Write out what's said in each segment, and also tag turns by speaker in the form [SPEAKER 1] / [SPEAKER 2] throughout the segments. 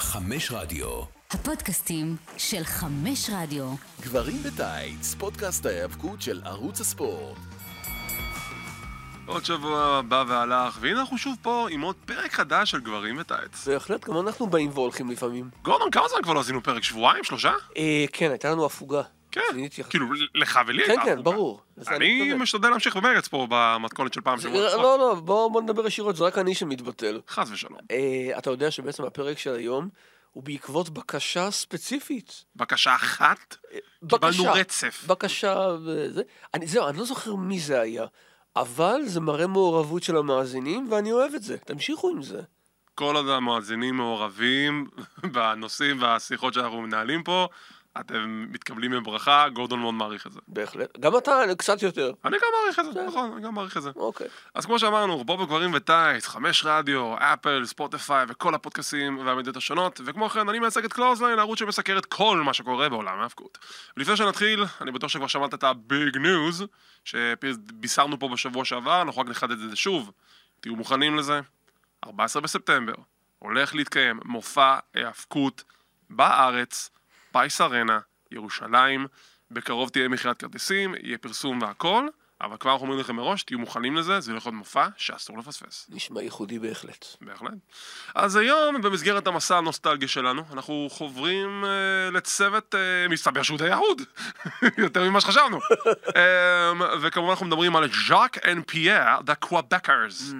[SPEAKER 1] חמש רדיו.
[SPEAKER 2] הפודקאסטים של חמש רדיו.
[SPEAKER 3] גברים בטייץ, פודקאסט ההיאבקות של ערוץ הספורט.
[SPEAKER 4] עוד שבוע בא והלך, והנה אנחנו שוב פה עם עוד פרק חדש של גברים וטייץ.
[SPEAKER 5] בהחלט, גם אנחנו באים והולכים לפעמים.
[SPEAKER 4] גורדון, כמה זמן כבר לא עשינו פרק? שבועיים? שלושה?
[SPEAKER 5] אה, כן, הייתה לנו הפוגה.
[SPEAKER 4] כן.
[SPEAKER 5] זיניתי-
[SPEAKER 4] כאילו, לך ולי
[SPEAKER 5] כן,
[SPEAKER 4] הייתה
[SPEAKER 5] כן,
[SPEAKER 4] הפוגה.
[SPEAKER 5] ברור. אז
[SPEAKER 4] אני
[SPEAKER 5] מתכוון.
[SPEAKER 4] משתדל להמשיך במרץ פה במתכונת של פעם
[SPEAKER 5] זה-
[SPEAKER 4] שבוע.
[SPEAKER 5] לא, לא, בוא בוא נדבר ישירות, זה רק אני שמתבטל.
[SPEAKER 4] חס ושלום.
[SPEAKER 5] אה, אתה יודע שבעצם הפרק של היום הוא בעקבות בקשה ספציפית.
[SPEAKER 4] בקשה אחת, קיבלנו
[SPEAKER 5] בקשה.
[SPEAKER 4] רצף.
[SPEAKER 5] בקשה, וזה. אני- זהו, אני לא זוכר מי זה היה, אבל זה מראה מעורבות של המאזינים, ואני אוהב את זה. תמשיכו עם זה.
[SPEAKER 4] כל עוד המאזינים מעורבים בנושאים והשיחות שאנחנו מנהלים פה, אתם מתקבלים בברכה, גורדון מאוד מעריך את זה.
[SPEAKER 5] בהחלט. גם אתה, אני קצת יותר.
[SPEAKER 4] אני גם מעריך את
[SPEAKER 5] כן.
[SPEAKER 4] זה, נכון, אני גם מעריך את זה.
[SPEAKER 5] אוקיי.
[SPEAKER 4] אז כמו שאמרנו, רובו בגברים וטייס, חמש רדיו, אפל, ספוטיפיי וכל הפודקאסים והמדינות השונות, וכמו כן, אני מייצג את קלוזליין, הערוץ שמסקר את כל מה שקורה בעולם ההאבקות. ולפני שנתחיל, אני בטוח שכבר שמעת את הביג ניוז, שבישרנו פה בשבוע שעבר, אנחנו רק נחדד את זה שוב. תהיו מוכנים לזה? 14 בספטמבר, הולך להתקיים מופע היאבקות בארץ, פייס ארנה, ירושלים, בקרוב תהיה מכירת כרטיסים, יהיה פרסום והכל, אבל כבר אנחנו אומרים לכם מראש, תהיו מוכנים לזה, זה הולך להיות מופע שאסור לפספס.
[SPEAKER 5] נשמע ייחודי בהחלט.
[SPEAKER 4] בהחלט. אז היום, במסגרת המסע הנוסטלגי שלנו, אנחנו חוברים אה, לצוות, אה, מסתבר שהוא די אהוד, יותר ממה שחשבנו. אה, וכמובן אנחנו מדברים על ז'אק אנד פייר, The Quebecers.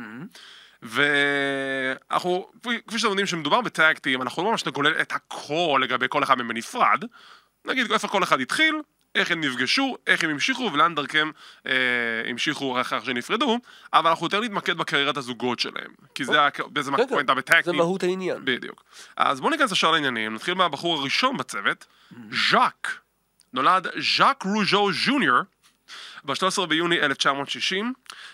[SPEAKER 4] ואנחנו, כפי- כפי שאתם יודעים שמדובר בטקטים, אנחנו לא ממש נגולל את הכל לגבי כל אחד מהם בנפרד. נגיד איפה כל אחד התחיל, איך הם נפגשו, איך הם המשיכו ולאן דרכם אה, המשיכו אחר שנפרדו, אבל אנחנו יותר נתמקד בקריירת הזוגות שלהם. כי זה היה כ- בעצם
[SPEAKER 5] כן, כן.
[SPEAKER 4] הפואנטה
[SPEAKER 5] זה
[SPEAKER 4] בטקטים.
[SPEAKER 5] מהות העניין.
[SPEAKER 4] בדיוק. אז בואו ניכנס ישר לעניינים, נתחיל מהבחור הראשון בצוות, ז'אק. נולד ז'אק רוז'ו ג'וניור ב-13 ביוני 1960.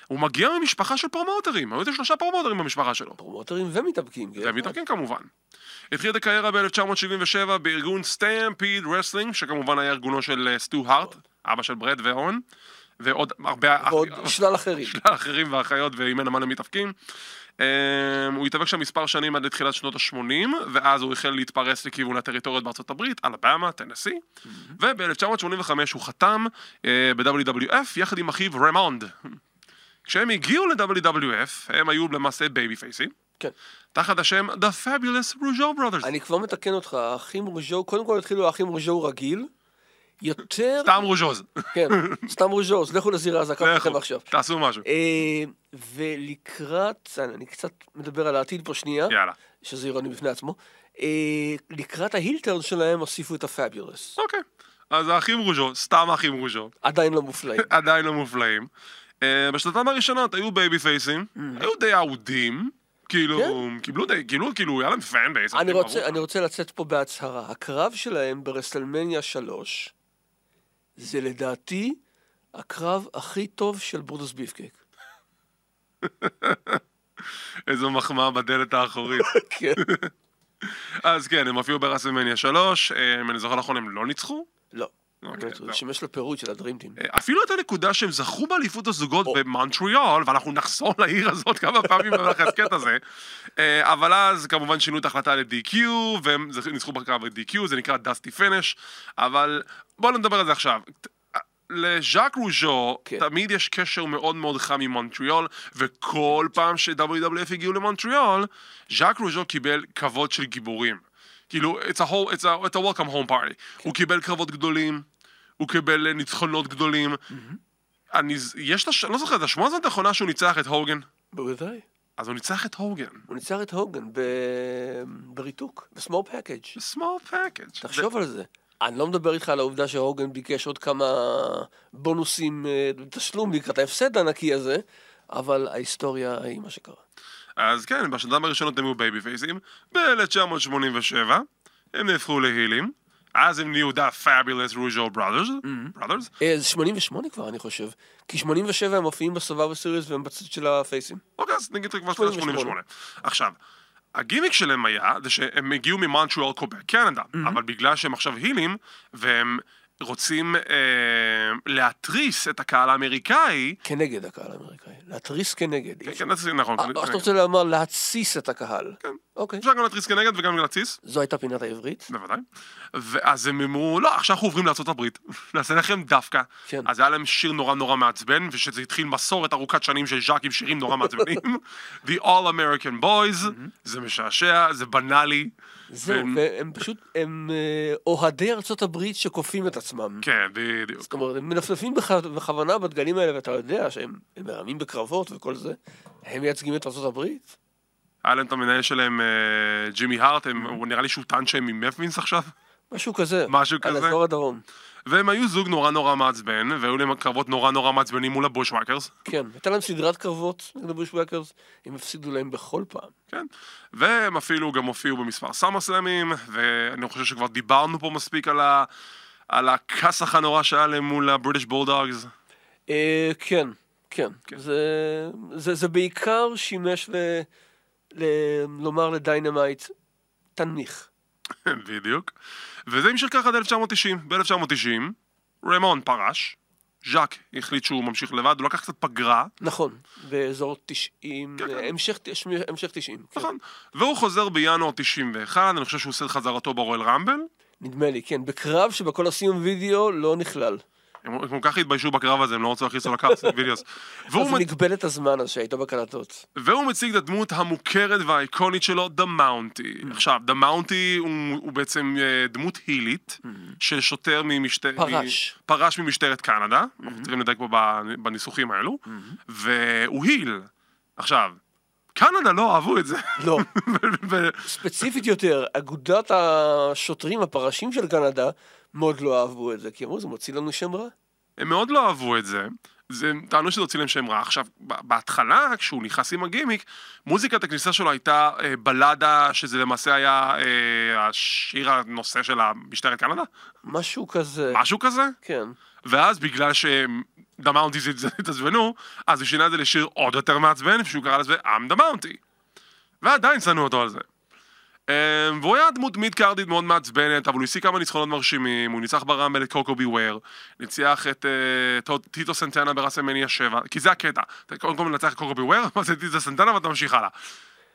[SPEAKER 4] הוא מגיע ממשפחה של פרומוטרים, היו איזה שלושה פרומוטרים במשפחה שלו.
[SPEAKER 5] פרומוטרים ומתאבקים. כן?
[SPEAKER 4] ומתאבקים כמובן. התחיל את הקריירה ב-1977 בארגון סטאמפיד רסלינג, שכמובן היה ארגונו של אה, סטו הארט, אבא של ברד ואון, ועוד הרבה... אח-
[SPEAKER 5] ועוד שלל אחרים.
[SPEAKER 4] אה, שלל אחרים ואחיות ואימן המלא מתאפקים. אמ, הוא התאבק שם מספר שנים עד לתחילת שנות ה-80, ואז הוא החל להתפרס לכיוון הטריטוריות בארצות הברית, אלבמה, טנסי,
[SPEAKER 5] Mm-hmm.
[SPEAKER 4] וב-1985 הוא חתם אה, ב-WWF יחד עם אחיו רמונד. כשהם הגיעו ל-WWF, הם היו למעשה בייבי פייסים,
[SPEAKER 5] כן.
[SPEAKER 4] תחת השם The Fabulous Rougeau Brothers.
[SPEAKER 5] אני כבר מתקן אותך, האחים רוז'ו, קודם כל התחילו האחים רוז'ו רגיל, יותר...
[SPEAKER 4] סתם רוז'וז.
[SPEAKER 5] כן, סתם רוז'ו, אז לכו לזירה הזקה
[SPEAKER 4] לכו,
[SPEAKER 5] שלכם עכשיו.
[SPEAKER 4] תעשו משהו.
[SPEAKER 5] אה, ולקראת, אה, אני אני קצת מדבר על העתיד פה שנייה,
[SPEAKER 4] יאללה.
[SPEAKER 5] שזה אירוני בפני עצמו, אה, לקראת ההילטרן שלהם הוסיפו את הפאביולס.
[SPEAKER 4] אוקיי. אז האחים רוז'ו, סתם האחים רוז'ו.
[SPEAKER 5] עדיין לא מופלאים.
[SPEAKER 4] עדיין לא מופלאים. אה, בשנתיים הראשונות היו בייבי פייסים,
[SPEAKER 5] Mm.
[SPEAKER 4] היו די אהודים, כאילו, קיבלו די, קיבלו, כאילו, היה להם פאן בייס.
[SPEAKER 5] כן? אני רוצה, אני רוצה לצאת פה בהצהרה. הקרב שלהם ברסלמניה 3, זה לדעתי הקרב הכי טוב של בורדוס ביפקק.
[SPEAKER 4] איזו מחמאה בדלת האחורית.
[SPEAKER 5] כן.
[SPEAKER 4] אז כן, הם הופיעו ברסלמניה 3, אם אני זוכר נכון, הם לא ניצחו.
[SPEAKER 5] לא.
[SPEAKER 4] אוקיי,
[SPEAKER 5] באמת,
[SPEAKER 4] לא.
[SPEAKER 5] הוא שימש לפירוט של הדרימטים.
[SPEAKER 4] אה, אפילו את הנקודה שהם זכו באליפות הזוגות
[SPEAKER 5] או.
[SPEAKER 4] במונטריאול, ואנחנו נחזור לעיר הזאת כמה פעמים במהלך ההסכת הזה, אה, אבל אז כמובן שינו את ההחלטה ל-DQ, והם זכ- ניצחו בקרב ל-DQ, זה נקרא דסטי פנש, אבל בואו נדבר על זה עכשיו. ת- אה, לז'אק רוז'ו
[SPEAKER 5] כן.
[SPEAKER 4] תמיד יש קשר מאוד מאוד חם עם מונטריאול, וכל פעם ש-WWF הגיעו למונטריאול, ז'אק רוז'ו קיבל כבוד של גיבורים. כאילו, it's a, whole, it's a, it's a welcome home party. הוא קיבל קרבות גדולים, הוא קיבל אה, ניצחונות גדולים. אני, ז- יש את הש... אני לא זוכר, את השמונה זאת האחרונה שהוא ניצח את הוגן.
[SPEAKER 5] בוודאי.
[SPEAKER 4] אז הוא ניצח את הוגן.
[SPEAKER 5] הוא ניצח את הוגן ב... בריתוק, בסמור פקאג'.
[SPEAKER 4] small package.
[SPEAKER 5] תחשוב על זה. אני לא מדבר איתך על העובדה שהוגן ביקש עוד כמה בונוסים, אה, תשלום לקראת ההפסד הענקי הזה, אבל ההיסטוריה היא מה שקרה.
[SPEAKER 4] אז כן, בשנתיים הראשונות הם היו בייבי פייסים. ב-1987 הם נהפכו להילים. אז הם נהיו The Fabulous Rougeau Brothers. Brothers.
[SPEAKER 5] אה, זה 88 כבר, אני חושב. כי 87 הם מופיעים בסבבה סיריוס והם בצד של הפייסים.
[SPEAKER 4] אוקיי, אז נגיד כבר תחילת 88.
[SPEAKER 5] 88.
[SPEAKER 4] עכשיו, הגימיק שלהם היה, זה שהם הגיעו ממונטריאול קובק, קנדה, אבל בגלל שהם עכשיו הילים, והם רוצים אה, להתריס את הקהל האמריקאי,
[SPEAKER 5] כנגד הקהל האמריקאי. להתריס כנגד.
[SPEAKER 4] כן, כן, נכון.
[SPEAKER 5] אה, או שאתה רוצה לומר להתסיס את הקהל. אוקיי.
[SPEAKER 4] אפשר גם להתריס כנגד וגם להתסיס,
[SPEAKER 5] זו הייתה פינת העברית.
[SPEAKER 4] בוודאי. ואז הם אמרו, לא, עכשיו אנחנו עוברים לארה"ב, נעשה לכם דווקא.
[SPEAKER 5] כן.
[SPEAKER 4] אז היה להם שיר נורא נורא מעצבן, ושזה התחיל מסורת ארוכת שנים של ז'אק עם שירים נורא מעצבנים. The All American Boys, זה משעשע, זה בנאלי.
[SPEAKER 5] זהו,
[SPEAKER 4] והם-
[SPEAKER 5] והם פשוט, הם אה, אוהדי ארצות הברית שכופים את עצמם.
[SPEAKER 4] כן, בדיוק.
[SPEAKER 5] זאת אומרת, הם מנפנפים בכ- בכוונה בדגלים האלה, ואתה יודע שהם הם מרמים בקרבות וכל זה. הם מייצגים את ארצות הברית?
[SPEAKER 4] היה להם את המנהל שלהם, אה, ג'ימי הארט, הם- הוא נראה לי שהוא טען שהם ממפווינס עכשיו.
[SPEAKER 5] משהו כזה.
[SPEAKER 4] משהו
[SPEAKER 5] על
[SPEAKER 4] כזה.
[SPEAKER 5] אזור הדרום.
[SPEAKER 4] והם היו זוג נורא נורא מעצבן, והיו להם קרבות נורא נורא מעצבנים מול הבושוואקרס.
[SPEAKER 5] כן, הייתה להם סדרת קרבות נגד הבושווקרס, הם הפסידו להם בכל פעם.
[SPEAKER 4] כן. והם אפילו גם הופיעו במספר סאמה סלאמים, ואני חושב שכבר דיברנו פה מספיק על ה... על הכסח הנורא שהיה להם מול הבריטיש בולדאגס.
[SPEAKER 5] אה, כן, כן.
[SPEAKER 4] כן.
[SPEAKER 5] זה, זה, זה בעיקר שימש ל, ל, לומר לדיינמייט, תנמיך.
[SPEAKER 4] בדיוק. וזה המשיך ככה עד 1990. ב-1990, רמון פרש, ז'אק החליט שהוא ממשיך לבד, הוא לקח קצת פגרה,
[SPEAKER 5] נכון, באזור 90,
[SPEAKER 4] כן, כן.
[SPEAKER 5] המשך, תש- המשך 90. כן.
[SPEAKER 4] נכון, והוא חוזר בינואר 91, אני חושב שהוא עושה את חזרתו ברואל רמבל.
[SPEAKER 5] נדמה לי, כן, בקרב שבכל הסיום וידאו לא נכלל.
[SPEAKER 4] הם הם כל כך התביישו בקרב הזה, הם לא רצו להכניס אותו לקארט, וידאוס.
[SPEAKER 5] אז
[SPEAKER 4] והוא מ-
[SPEAKER 5] מגבלת הזמן אז שהייתה בקלטות.
[SPEAKER 4] והוא מציג את הדמות המוכרת והאיקונית שלו, The
[SPEAKER 5] Mm.
[SPEAKER 4] Mountie. עכשיו, The Mountie הוא, הוא בעצם אה, דמות הילית של שוטר ממשטרת...
[SPEAKER 5] Mm. פרש. Mm-hmm.
[SPEAKER 4] מ... פרש ממשטרת קנדה, אנחנו צריכים לדייק פה בנ- בניסוחים האלו, והוא היל. עכשיו, קנדה לא אהבו את זה.
[SPEAKER 5] לא,
[SPEAKER 4] ו- ו-
[SPEAKER 5] ספציפית יותר, אגודת השוטרים, הפרשים של קנדה, מאוד לא אהבו את זה, כי אמרו, זה מוציא לנו שם רע.
[SPEAKER 4] הם מאוד לא אהבו את זה. זה, הם טענו שזה הוציא להם שם רע. עכשיו, ב- בהתחלה, כשהוא נכנס עם הגימיק, מוזיקת הכניסה שלו הייתה אה, בלדה, שזה למעשה היה אה, השיר הנושא של משטרת קנדה,
[SPEAKER 5] משהו כזה,
[SPEAKER 4] משהו כזה.
[SPEAKER 5] כן. ואז
[SPEAKER 4] ואז בגלל ש"דה מאונטי" התעצבנו, אז הוא שינה את זה לשיר עוד יותר מעצבן, שהוא קרא לזה "I'm the Mountie". ועדיין שנאו אותו על זה. אמ, והוא היה דמות מיד קארדית מאוד מעצבנת, אבל הוא השיג כמה ניצחונות מרשימים, הוא ניצח ברמבל את קוקו ביוור, ניצח את אה, טו- טיטו סנטנה ברסלמניה 7, כי זה הקטע, אתה קודם כל מנצח את קוקו ביוור, ואז את טיטו סנטנה ואתה ממשיך הלאה.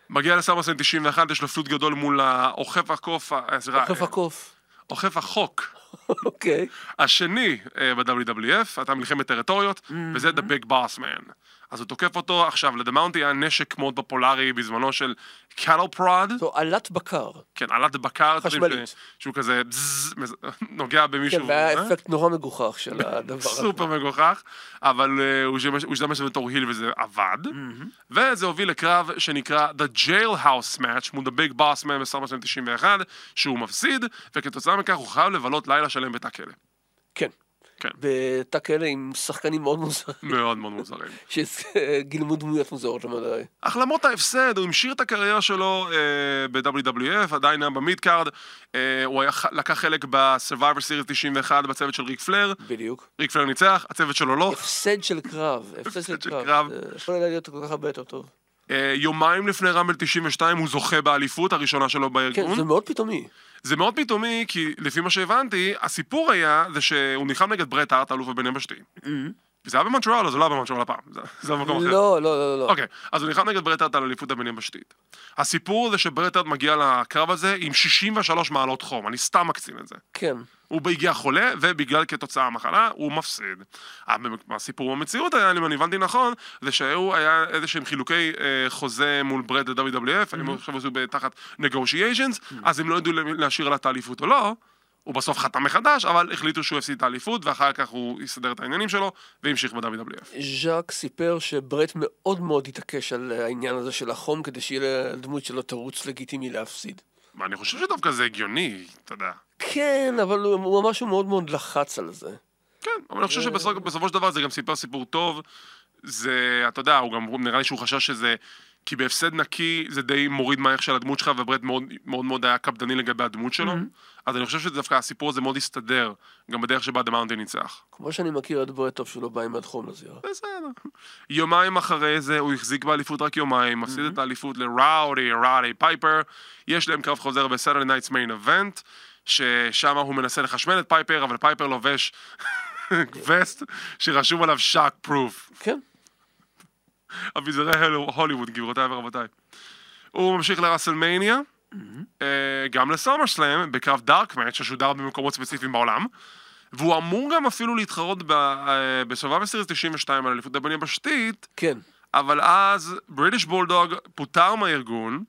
[SPEAKER 4] מגיע לסמרסלם 91, יש לו פלוט גדול מול האוכף הקוף, אה, סליחה,
[SPEAKER 5] חוף הקוף.
[SPEAKER 4] אוכף החוק.
[SPEAKER 5] אוקיי.
[SPEAKER 4] השני אה, ב-WWF, הייתה מלחמת טריטוריות,
[SPEAKER 5] Mm-hmm.
[SPEAKER 4] וזה The Big Boss Man. אז הוא תוקף אותו, עכשיו לדמאונטי היה נשק מאוד פופולרי בזמנו של קאטל פרוד,
[SPEAKER 5] זו עלת בקר.
[SPEAKER 4] כן, עלת בקר, אתם יודעים
[SPEAKER 5] חשמלית.
[SPEAKER 4] ש- שהוא כזה בזז, מז- נוגע
[SPEAKER 5] כן,
[SPEAKER 4] במישהו,
[SPEAKER 5] והיה
[SPEAKER 4] אה?
[SPEAKER 5] אפקט נורא מגוחך של הדבר הזה.
[SPEAKER 4] סופר מגוחך, אבל אה, הוא שימש- הוא השתמש בזה בתור היל וזה עבד,
[SPEAKER 5] Mm-hmm.
[SPEAKER 4] וזה הוביל לקרב שנקרא The Jailhouse Match מול The Big Boss Man בסמר 91, שהוא מפסיד, וכתוצאה מכך הוא חייב לבלות לילה שלם בתא כלא.
[SPEAKER 5] כן.
[SPEAKER 4] כן.
[SPEAKER 5] בתא כלא עם שחקנים מאוד מוזרים,
[SPEAKER 4] מאוד מאוד מוזרים.
[SPEAKER 5] שגילמו דמויות מוזרות למדי.
[SPEAKER 4] אך למרות ההפסד, הוא המשיך את הקריירה שלו אה, ב-WWF, עדיין היה במידקארד, אה, הוא היה, ח- לקח חלק ב-Survivor Series 91 בצוות של ריק פלר,
[SPEAKER 5] בדיוק.
[SPEAKER 4] ריק פלר ניצח, הצוות שלו לא.
[SPEAKER 5] הפסד של קרב, הפסד של
[SPEAKER 4] של
[SPEAKER 5] קרב.
[SPEAKER 4] קרב.
[SPEAKER 5] זה יכול היה להיות כל כך הרבה יותר טוב.
[SPEAKER 4] אה, יומיים לפני רמבל 92 הוא זוכה באליפות הראשונה שלו
[SPEAKER 5] כן,
[SPEAKER 4] בארגון.
[SPEAKER 5] זה מאוד פתאומי.
[SPEAKER 4] זה מאוד פתאומי, כי לפי מה שהבנתי, הסיפור היה זה שהוא נלחם נגד ברט הארט, האלוף הבן יבשתי. זה היה במונטריאל, אז זה לא היה במונטריאל הפעם, זה- זה היה במקום אחר.
[SPEAKER 5] Mm-hmm. לא, לא, לא, לא.
[SPEAKER 4] אוקיי, אז הוא נלחם נגד ברטארד על אליפות הבנים בשתית. הסיפור זה שברטארד מגיע לקרב הזה עם 63 מעלות חום, אני סתם מקצין את זה.
[SPEAKER 5] כן.
[SPEAKER 4] הוא הגיע חולה, ובגלל כתוצאה המחלה, הוא מפסיד. אה, הסיפור במציאות היה, אם אני הבנתי נכון, זה שהיו, היה איזה שהם חילוקי אה, חוזה מול ברד ל-WWF, הם עכשיו עשו תחת negotiations, אז הם לא ידעו למי- להשאיר עליו את האליפות או לא. הוא בסוף חתם מחדש, אבל החליטו שהוא הפסיד את האליפות, ואחר כך הוא יסדר את העניינים שלו, והמשיך ב-WWF.
[SPEAKER 5] ז'אק סיפר שברט מאוד מאוד התעקש על העניין הזה של החום, כדי שיהיה לדמות שלו תירוץ לגיטימי להפסיד.
[SPEAKER 4] ואני חושב שדווקא זה הגיוני, אתה יודע.
[SPEAKER 5] כן, אבל הוא הוא אמר שהוא מאוד מאוד לחץ על זה.
[SPEAKER 4] כן, אבל אני חושב שבסופו בסופו של דבר זה גם סיפר סיפור טוב. זה, אתה יודע, הוא גם, נראה לי שהוא חשש שזה... כי בהפסד נקי זה די מוריד מהערך של הדמות שלך, וברט מאוד מאוד, מאוד היה קפדני לגבי הדמות שלו. אז אני חושב שדווקא הסיפור הזה מאוד הסתדר, גם בדרך שבה דמאונטי ניצח.
[SPEAKER 5] כמו שאני מכיר את ברט, טוב שהוא לא בא עם עד חום לזירה.
[SPEAKER 4] בסדר. יומיים אחרי זה הוא החזיק באליפות רק יומיים, מפסיד את האליפות לראודי, ראודי פייפר. יש להם קרב חוזר בסטרלי נייטס מיין אבנט, ששם הוא מנסה לחשמל את פייפר, אבל פייפר לובש וסט שרשום עליו שוק פרוף.
[SPEAKER 5] כן.
[SPEAKER 4] אביזרי הוליווד, גבירותיי ורבותיי. הוא ממשיך לראסלמניה, אה, גם לסומר שלהם, בקרב דארקמט ששודר במקומות ספציפיים בעולם. והוא אמור גם אפילו להתחרות אה, בסובב סיריס 92 על אליפות דבלין בשתית,
[SPEAKER 5] כן.
[SPEAKER 4] אבל אז בריטיש בולדוג פוטר מהארגון,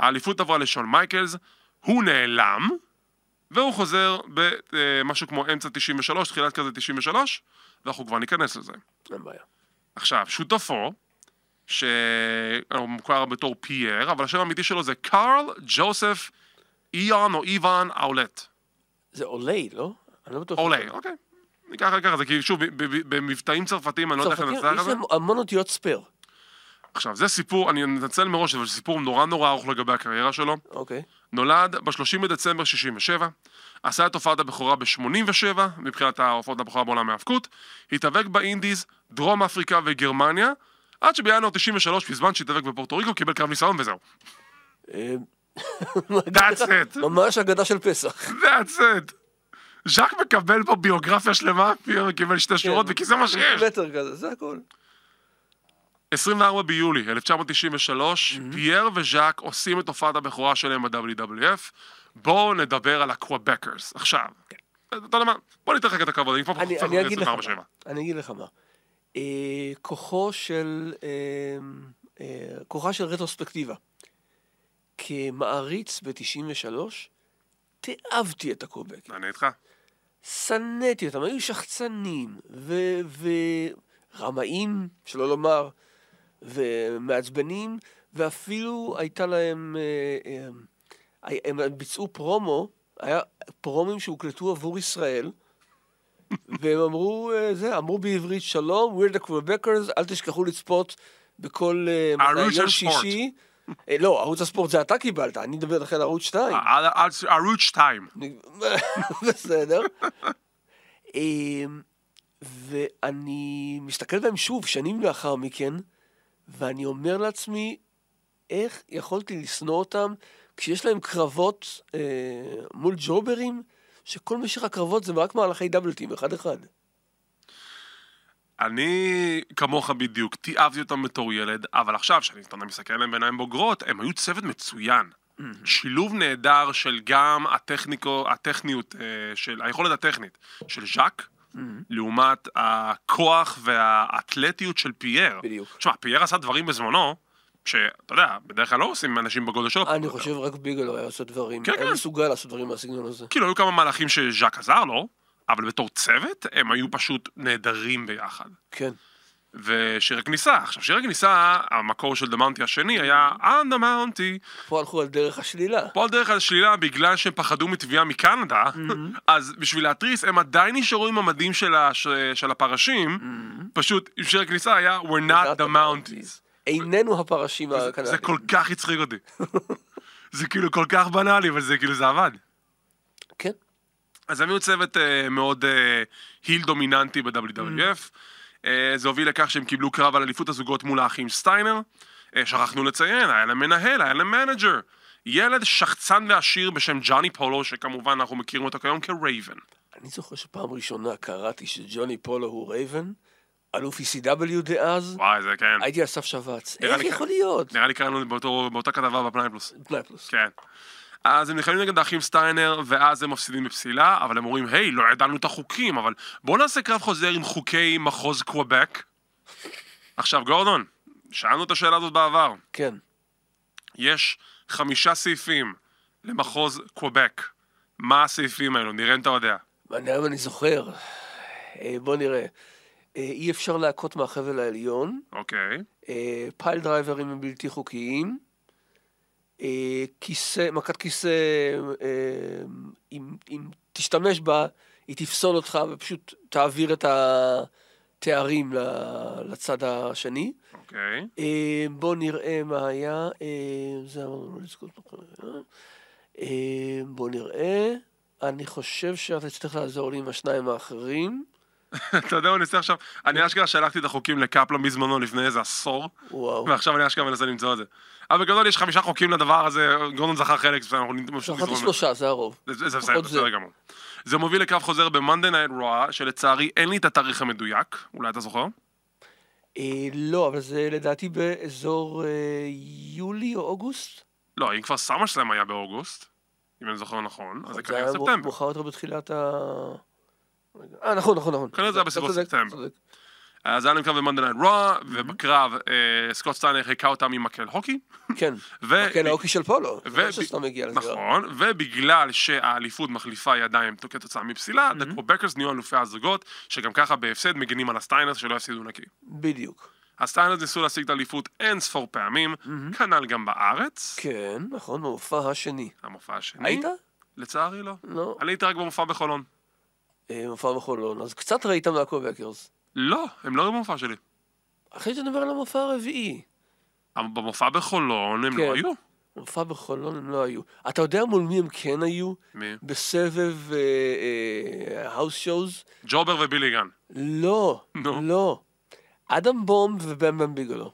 [SPEAKER 4] האליפות עברה לשון מייקלס, הוא נעלם, והוא חוזר במשהו כמו אמצע 93, תחילת כזה 93, ואנחנו כבר ניכנס לזה.
[SPEAKER 5] אין בעיה.
[SPEAKER 4] עכשיו, שותפו, שהוא מוכר בתור פייר, אבל השם האמיתי שלו זה קארל ג'וסף איון או איוון אולט.
[SPEAKER 5] זה עולי, לא? אני לא בטוח.
[SPEAKER 4] אולי, אוקיי. ניקח ניקח את זה, כי שוב, ב- ב- במבטאים צרפתיים אני לא יודע איך
[SPEAKER 5] צרפתים,
[SPEAKER 4] לנצח את
[SPEAKER 5] יש
[SPEAKER 4] זה.
[SPEAKER 5] להם המון אותיות ספייר.
[SPEAKER 4] עכשיו, זה סיפור, אני מתנצל מראש, אבל זה סיפור נורא נורא ארוך לגבי הקריירה שלו.
[SPEAKER 5] אוקיי.
[SPEAKER 4] נולד ב-30 בדצמבר 67, עשה את הופעת הבכורה ב-87, מבחינת ההופעות הבכורה בעולם ההאבקות, התאבק באינדיז, דרום אפריקה וגרמניה, עד שבינואר 93, בזמן שהתאבק בפורטו ריקו, קיבל קרב ניסיון וזהו.
[SPEAKER 5] אה,
[SPEAKER 4] That's it.
[SPEAKER 5] ממש אגדה של פסח.
[SPEAKER 4] That's it. ז'אק מקבל פה ביוגרפיה שלמה, פייר קיבל שתי שורות,
[SPEAKER 5] כן.
[SPEAKER 4] וכי זה מה שיש.
[SPEAKER 5] מטר כזה, זה הכל.
[SPEAKER 4] 24 ביולי 1993,
[SPEAKER 5] Mhm.
[SPEAKER 4] פייר וז'אק עושים את הופעת הבכורה שלהם ב-WWF. בואו נדבר על הקוואבקרס. עכשיו, אתה יודע מה? בוא ניתן לך את הכבוד, אני כבר
[SPEAKER 5] כן. אני-
[SPEAKER 4] חופר
[SPEAKER 5] אני אגיד לך
[SPEAKER 4] 24/7.
[SPEAKER 5] מה. אני אגיד לך מה. אה, כוחו של... אה, אה, כוחה של רטרוספקטיבה. כמעריץ ב-93, תיעבתי את הקובק.
[SPEAKER 4] אני איתך.
[SPEAKER 5] שנאתי אותם, היו שחצנים ו- ורמאים, שלא לומר, ומעצבנים, ואפילו הייתה להם... אה, אה, הם ביצעו פרומו, היה פרומים שהוקלטו עבור ישראל, והם אמרו, אה, זה, אמרו בעברית, שלום, we're the Quebecers, אל תשכחו לצפות בכל... אה, מתי,
[SPEAKER 4] ערוץ
[SPEAKER 5] יום
[SPEAKER 4] הספורט.
[SPEAKER 5] שישי." אה, לא, ערוץ הספורט זה אתה קיבלת, אני מדבר לכן על ערוץ 2.
[SPEAKER 4] על- על- ערוץ 2.
[SPEAKER 5] בסדר. אמ, ואני מסתכל בהם שוב, שנים לאחר מכן, ואני אומר לעצמי, איך יכולתי לשנוא אותם כשיש להם קרבות אה, מול ג'וברים, שכל משך הקרבות זה רק מהלכי דאבלטים, אחד-אחד.
[SPEAKER 4] אני, כמוך בדיוק, תיעבתי אותם בתור ילד, אבל עכשיו, כשאני אתה יודע, מסתכל עליהם בעיניים בוגרות, הם היו צוות מצוין. שילוב נהדר של גם הטכניקו, הטכניות, אה, של היכולת הטכנית של ז'אק, לעומת הכוח והאתלטיות של פייר.
[SPEAKER 5] בדיוק.
[SPEAKER 4] תשמע, פייר עשה דברים בזמנו, שאתה יודע, בדרך כלל לא עושים אנשים בגודל שלו.
[SPEAKER 5] אני חושב רק ביגלו היה עושה דברים,
[SPEAKER 4] כן,
[SPEAKER 5] היה
[SPEAKER 4] כן.
[SPEAKER 5] מסוגל לעשות דברים מהסגנון הזה.
[SPEAKER 4] כאילו, היו כמה מהלכים שז'אק עזר לו, אבל בתור צוות, הם היו פשוט נהדרים ביחד.
[SPEAKER 5] כן.
[SPEAKER 4] ושיר הכניסה. עכשיו, שיר הכניסה, המקור של דמאונטי השני היה I'm the Mounty.
[SPEAKER 5] פה הלכו על דרך השלילה.
[SPEAKER 4] פה על דרך השלילה, בגלל שהם פחדו מתביעה מקנדה, אז בשביל להתריס, הם עדיין נשארו עם המדים של, הש... של הפרשים, פשוט עם שיר הכניסה היה We're not Mm-hmm. the Mounties. אה,
[SPEAKER 5] איננו הפרשים
[SPEAKER 4] זה
[SPEAKER 5] הקנדים.
[SPEAKER 4] כל כך הצחיק אותי. זה כאילו כל כך בנאלי, אבל זה כאילו זה עבד.
[SPEAKER 5] כן.
[SPEAKER 4] אז הם היו צוות אה, מאוד אה, היל דומיננטי ב-WWF. אה, זה הוביל לכך שהם קיבלו קרב על אליפות הזוגות מול האחים סטיינר. אה, שכחנו לציין, היה להם מנהל, היה להם מנג'ר. ילד שחצן ועשיר בשם ג'אני פולו, שכמובן אנחנו מכירים אותו כיום כרייבן.
[SPEAKER 5] אני זוכר שפעם ראשונה קראתי שג'וני פולו הוא רייבן, אלוף ECW דאז,
[SPEAKER 4] וואי, זה כן.
[SPEAKER 5] הייתי על סף שבץ.
[SPEAKER 4] נראה
[SPEAKER 5] איך
[SPEAKER 4] לי כן.
[SPEAKER 5] יכול להיות?
[SPEAKER 4] נראה לי קראנו את זה באותו- באותה כתבה בפלנט פלוס.
[SPEAKER 5] פנאי פלוס.
[SPEAKER 4] כן. אז הם נלחמים נגד האחים סטיינר, ואז הם מפסידים בפסילה, אבל הם אומרים, היי, לא ידענו את החוקים, אבל בואו נעשה קרב חוזר עם חוקי מחוז קוואבק. עכשיו, גורדון, שאלנו את השאלה הזאת בעבר.
[SPEAKER 5] כן.
[SPEAKER 4] יש חמישה סעיפים למחוז קוואבק. מה הסעיפים האלו? נראה אם אתה יודע.
[SPEAKER 5] מעניין אם אני זוכר. אה, בוא נראה. אה, אי אפשר להכות מהחבל העליון,
[SPEAKER 4] אוקיי.
[SPEAKER 5] אה, פייל דרייברים הם בלתי חוקיים, אה, כיסא, מכת כיסא, אה, אם, אם תשתמש בה, היא תפסול אותך ופשוט תעביר את התארים ל- לצד השני.
[SPEAKER 4] אוקיי.
[SPEAKER 5] אה, בואו נראה מה היה. אה, זה אמרנו לא לזכות. אה, בואו נראה. אני חושב שאתה תצטרך לעזור לי עם השניים האחרים.
[SPEAKER 4] אתה יודע מה אני עושה עכשיו? אני אשכרה שלחתי את החוקים לקפלן בזמנו לפני איזה עשור,
[SPEAKER 5] וואו.
[SPEAKER 4] ועכשיו אני אשכרה מנסה למצוא את זה. אבל בגדול יש חמישה חוקים לדבר הזה, גורדון זכר חלק, בסדר, אנחנו נמשיך
[SPEAKER 5] שכחתי
[SPEAKER 4] לזרום.
[SPEAKER 5] לא, שלושה, זה הרוב.
[SPEAKER 4] זה זה בסדר,
[SPEAKER 5] פחות זה.
[SPEAKER 4] בסדר גמור. זה מוביל לקרב חוזר ב-Monday Night Raw, שלצערי אין לי את התאריך המדויק, אולי אתה זוכר?
[SPEAKER 5] אה, לא, אבל זה לדעתי באזור אה, יולי או אוגוסט.
[SPEAKER 4] לא, אם כבר סמא שלהם היה באוגוסט, אם אני זוכר נכון, אז זה
[SPEAKER 5] היה
[SPEAKER 4] כנראה
[SPEAKER 5] מאו-
[SPEAKER 4] ספטמבר.
[SPEAKER 5] מאוחר יותר בתחילת ה... רגע. אה, נכון, נכון, נכון.
[SPEAKER 4] כנראה זה היה
[SPEAKER 5] אתה
[SPEAKER 4] בסביבות
[SPEAKER 5] צודק,
[SPEAKER 4] ספטמבר.
[SPEAKER 5] צודק.
[SPEAKER 4] אז היה להם קרב במונדי נייט רוע,
[SPEAKER 5] Mm-hmm.
[SPEAKER 4] ובקרב אה, סקוט סטיינר חיכה אותם עם מקל הוקי.
[SPEAKER 5] כן.
[SPEAKER 4] ו-
[SPEAKER 5] כן, האוקי של פולו.
[SPEAKER 4] ו-
[SPEAKER 5] זה לא שסתם הגיע לסגירה.
[SPEAKER 4] נכון, ובגלל שהאליפות מחליפה ידיים כתוצאה מפסילה,
[SPEAKER 5] Mm-hmm.
[SPEAKER 4] דקו בקרס נהיו אלופי הזוגות, שגם ככה בהפסד מגינים על הסטיינרס שלא יפסידו נקי.
[SPEAKER 5] בדיוק.
[SPEAKER 4] הסטיינרס ניסו להשיג את האליפות אין ספור פעמים, כנ"ל גם בארץ,
[SPEAKER 5] Mm-hmm. כן, נכון, במופע השני.
[SPEAKER 4] המופע השני.
[SPEAKER 5] היית?
[SPEAKER 4] לצערי לא.
[SPEAKER 5] לא.
[SPEAKER 4] אני הייתי רק במופע בחולון.
[SPEAKER 5] אה, מופע בחולון. אז קצת ראית מעקב בקרס.
[SPEAKER 4] לא, הם לא היו במופע שלי.
[SPEAKER 5] אחרי שנדבר על המופע הרביעי.
[SPEAKER 4] אבל במופע בחולון הם
[SPEAKER 5] כן.
[SPEAKER 4] לא היו.
[SPEAKER 5] מופע בחולון הם לא היו. אתה יודע מול מי הם כן היו?
[SPEAKER 4] מי?
[SPEAKER 5] בסבב אה, האוס שואוז?
[SPEAKER 4] ג'ובר ובילי גן.
[SPEAKER 5] לא,
[SPEAKER 4] נו.
[SPEAKER 5] לא. אדם בום ובן בן ביגלו.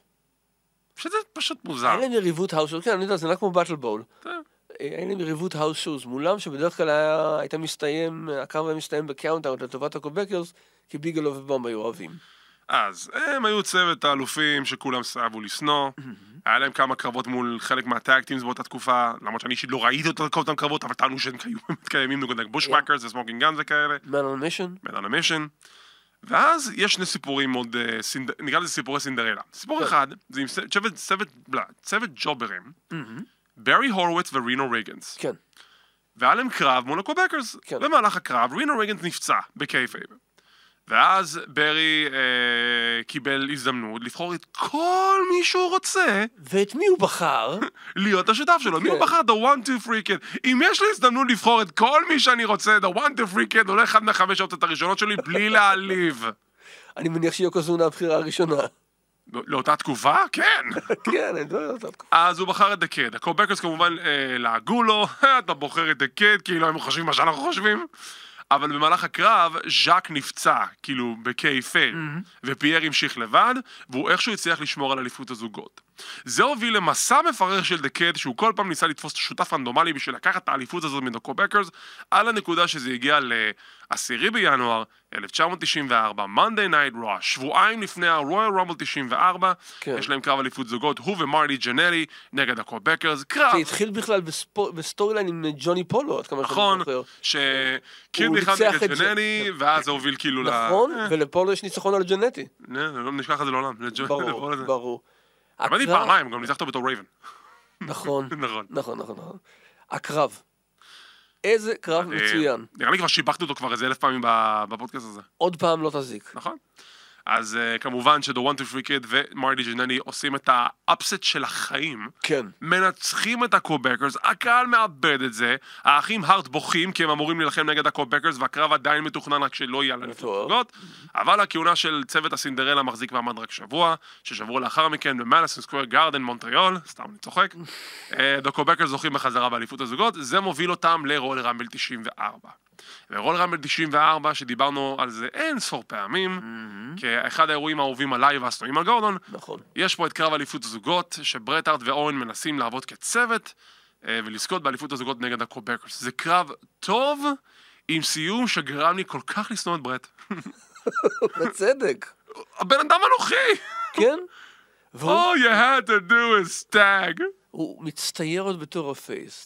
[SPEAKER 4] שזה פשוט מוזר.
[SPEAKER 5] היה להם יריבות האוס שואוז, כן, אני יודע, זה נראה כמו באטל בול.
[SPEAKER 4] כן.
[SPEAKER 5] היה להם יריבות האוס שואוז מולם, שבדרך כלל היה- הייתה מסתיים, הקרב היה מסתיים בקאונטאונט לטובת הקובקרס, כי ביגלו ובום היו אוהבים.
[SPEAKER 4] אז הם היו צוות האלופים שכולם סבו לשנוא, היה להם כמה קרבות מול חלק מהטאגטימס באותה תקופה, למרות שאני אישית לא ראיתי את כל אותם קרבות, אבל טענו שהם היו באמת קיימים
[SPEAKER 5] כן.
[SPEAKER 4] נגד בושוואקרס וסמוקינג גאנז וכאלה,
[SPEAKER 5] מן אנמישן?
[SPEAKER 4] מן אנמישן. ואז יש שני סיפורים עוד, אה, סינד- נקרא לזה סיפורי סינדרלה. סיפור
[SPEAKER 5] כן.
[SPEAKER 4] אחד, זה עם צוות- צוות, צוות, לא, צוות ג'וברים, ברי הורוביץ ורינו רייגנס.
[SPEAKER 5] כן.
[SPEAKER 4] והיה להם קרב מול הקובקרס.
[SPEAKER 5] כן.
[SPEAKER 4] במהלך הקרב רינו רייגנס נפצע בקייפייב. ואז ברי אה, קיבל הזדמנות לבחור את כל מי שהוא רוצה
[SPEAKER 5] ואת מי הוא בחר?
[SPEAKER 4] להיות השותף שלו. מי הוא
[SPEAKER 5] כן.
[SPEAKER 4] בחר? The one to free kid. אם יש לי הזדמנות לבחור את כל מי שאני רוצה, the one to free kid עולה אחד מהחמש האופציות הראשונות שלי בלי להעליב.
[SPEAKER 5] אני מניח שיוקוזונה הבחירה הראשונה.
[SPEAKER 4] לא- לאותה תקופה? כן.
[SPEAKER 5] כן, אני לא יודע.
[SPEAKER 4] אז הוא בחר את The Kid. הקובקרס כמובן אה, לעגו לו, אתה בוחר את The Kid, כאילו הם חושבים מה שאנחנו חושבים. אבל במהלך הקרב, ז'אק נפצע, כאילו, בקייפל, ופייר המשיך לבד, והוא איכשהו הצליח לשמור על אליפות הזוגות. זה הוביל למסע מפרך של The Kid, שהוא כל פעם ניסה לתפוס שותף רנדומלי בשביל לקחת את האליפות הזאת מדוקו בקרס, על הנקודה שזה הגיע ל-10 בינואר 1994, Monday Night Raw, שבועיים לפני ה-Royal Rumble 94,
[SPEAKER 5] כן.
[SPEAKER 4] יש להם קרב אליפות זוגות, הוא ומרלי ג'נלי נגד הקובקרס, קרב,
[SPEAKER 5] זה התחיל בכלל בספו- בסטורי ליין עם ג'וני פולו, עד כמה שאני
[SPEAKER 4] נכון,
[SPEAKER 5] זוכר.
[SPEAKER 4] שקיד
[SPEAKER 5] הוא
[SPEAKER 4] נכנס
[SPEAKER 5] ניצח
[SPEAKER 4] נגד
[SPEAKER 5] את
[SPEAKER 4] ג'נלי, ואז זה הוביל כאילו ל...
[SPEAKER 5] נכון,
[SPEAKER 4] אה,
[SPEAKER 5] ולפולו יש ניצחון על ג'נטי.
[SPEAKER 4] אה, לא נשכח את זה לעולם, נכון, לג'נלי, לקרוא
[SPEAKER 5] ברור,
[SPEAKER 4] לזה.
[SPEAKER 5] ברור.
[SPEAKER 4] עבדתי
[SPEAKER 5] הקרב-
[SPEAKER 4] פעמיים, גם ניצחת בתור רייבן.
[SPEAKER 5] נכון,
[SPEAKER 4] נכון.
[SPEAKER 5] נכון, נכון, נכון. הקרב. איזה קרב
[SPEAKER 4] אה,
[SPEAKER 5] נכון, מצוין.
[SPEAKER 4] נראה לי כבר שיבחתי אותו כבר איזה אלף פעמים ב- בפודקאסט הזה.
[SPEAKER 5] עוד פעם לא תזיק.
[SPEAKER 4] נכון. אז uh, כמובן שדו וואן טו פרי קיד ומרלי ג'נני עושים את האפסט של החיים.
[SPEAKER 5] כן.
[SPEAKER 4] מנצחים את הקובקרס, הקהל מאבד את זה, האחים הארט בוכים כי הם אמורים להילחם נגד הקובקרס והקרב עדיין מתוכנן רק שלא יהיה להם
[SPEAKER 5] מתואר.
[SPEAKER 4] נקודות, אבל הכהונה של צוות הסינדרלה מחזיק מעמד רק שבוע, ששבוע לאחר מכן במאלסון סקוויר גארדן מונטריאול, סתם אני צוחק, אה, הקובקרס זוכים בחזרה באליפות הזוגות, זה מוביל אותם לרול רמבל 94. ורול רמבל 94, שדיברנו על זה אין ספור פעמים, כאחד האירועים האהובים עליי והשנואים על גורדון,
[SPEAKER 5] נכון.
[SPEAKER 4] יש פה את קרב אליפות הזוגות, שברטהארט ואורן מנסים לעבוד כצוות אה, ולזכות באליפות הזוגות נגד הקובקרס. זה קרב טוב עם סיום שגרם לי כל כך לשנוא את ברט.
[SPEAKER 5] בצדק.
[SPEAKER 4] הבן אדם אנוכי!
[SPEAKER 5] כן? והוא
[SPEAKER 4] All you had to do is tag.
[SPEAKER 5] הוא מצטייר עוד בתור הפייס.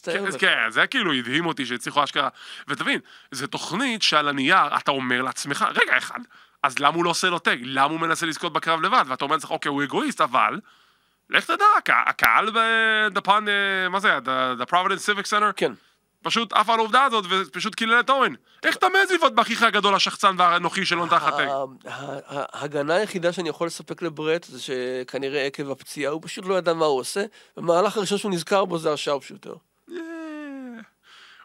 [SPEAKER 4] כן,
[SPEAKER 5] מצטייר
[SPEAKER 4] אז
[SPEAKER 5] בת-
[SPEAKER 4] כן, זה כאילו הדהים אותי שהצליחו אשכרה. ותבין, זו תוכנית שעל הנייר אתה אומר לעצמך, רגע אחד, אז למה הוא לא עושה לו טג? למה הוא מנסה לזכות בקרב לבד? ואתה אומר לעצמך, אוקיי, הוא אגואיסט, אבל... לך תדע, הק- הקהל בדפן, אה, מה זה היה? The- The Providence Civic Center?
[SPEAKER 5] כן.
[SPEAKER 4] פשוט עף על העובדה הזאת ופשוט קילל את אורן. איך אתה מעז לבעוט באחיך הגדול, השחצן והאנוכי שלא נתן לך טג?
[SPEAKER 5] ה- ה- ההגנה היחידה שאני יכול לספק לברט זה שכנראה עקב הפציעה הוא פשוט לא ידע מה הוא עושה, והמהלך הראשון שהוא נזכר בו זה השארפשוטר.
[SPEAKER 4] אה.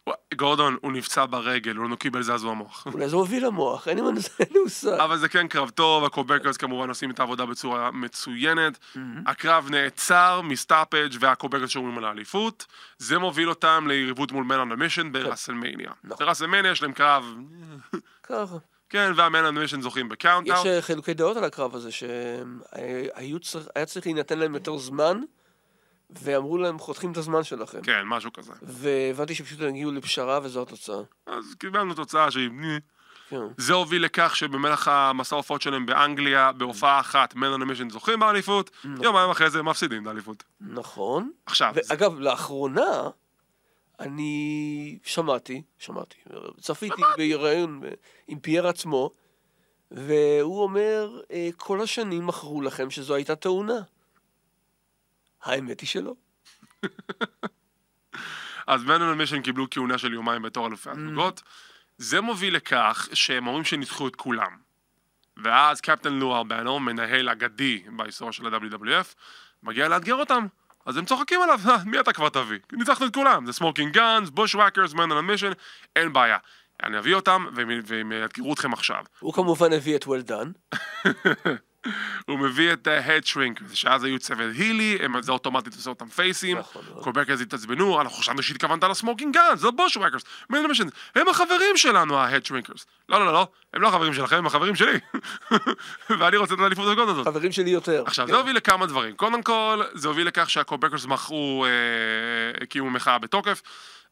[SPEAKER 4] וואי, גורדון, הוא נפצע ברגל, הוא לא קיבל זעזוע מוח.
[SPEAKER 5] אולי זה מוביל למוח, אין לי מנס- אין לי מושג.
[SPEAKER 4] אבל זה כן קרב טוב, הקובקרס כמובן עושים את העבודה בצורה מצוינת. הקרב נעצר מסטאפג' והקובקרס שומרים על האליפות. זה מוביל אותם ליריבות מול מן אנמישן בראסלמניה.
[SPEAKER 5] נכון.
[SPEAKER 4] בראסלמניה יש להם קרב,
[SPEAKER 5] ככה.
[SPEAKER 4] כן, והמן אנמישן זוכים
[SPEAKER 5] יש
[SPEAKER 4] בקאונטאון.
[SPEAKER 5] אה, חילוקי דעות על הקרב הזה, שהיה צריך להינתן להם יותר זמן, ואמרו להם, חותכים את הזמן שלכם.
[SPEAKER 4] כן, משהו כזה.
[SPEAKER 5] והבנתי שפשוט הם הגיעו לפשרה וזו התוצאה.
[SPEAKER 4] אז קיבלנו תוצאה שהיא... אה,
[SPEAKER 5] כן.
[SPEAKER 4] זה הוביל לכך שבמהלך המסע ההופעות שלהם באנגליה, בהופעה אחת, מן אנימיישן זוכים באליפות, יומיים אחרי זה מפסידים את האליפות.
[SPEAKER 5] נכון.
[SPEAKER 4] עכשיו, זה-
[SPEAKER 5] ואגב, לאחרונה אני שמעתי, שמעתי, צפיתי בראיון ב- עם פייר עצמו, והוא אומר, "אה, כל השנים מכרו לכם שזו הייתה תאונה. האמת היא שלא.
[SPEAKER 4] אז מן אנימיישן קיבלו כהונה של יומיים בתור אלופי הזוגות. זה מוביל לכך שהם אומרים שניצחו את כולם. ואז קפטן לו ארבנו, מנהל אגדי בהיסטוריה של ה-WWF, מגיע לאתגר אותם. אז הם צוחקים עליו, "אה, מי אתה כבר תביא? ניצחנו את כולם, זה סמוקינג גאנס, בוש וואקרס, מן אנימיישן, אין בעיה. אני אביא אותם והם והם יאתגרו אתכם עכשיו.
[SPEAKER 5] הוא כמובן הביא את well done.
[SPEAKER 4] הוא מביא את ה-head shrink, שאז היו צוות הילי, הם על זה אוטומטית עושה אותם פייסים,
[SPEAKER 5] נכון מאוד.
[SPEAKER 4] קובקרס התעצבנו, אנחנו חשבנו שהתכוונת לסמוקינג גאנס, זה בושוואקרס, מנדלמשן, הם החברים שלנו, ה-head shrinkers. לא, לא, לא, לא, הם לא החברים שלכם, הם החברים שלי. ואני רוצה את האליפות הגודל הזאת.
[SPEAKER 5] חברים שלי יותר.
[SPEAKER 4] עכשיו,
[SPEAKER 5] כן.
[SPEAKER 4] זה הוביל לכמה דברים. קודם כל, זה הוביל לכך שהקובקרס מכרו, אה, הקימו מחאה בתוקף,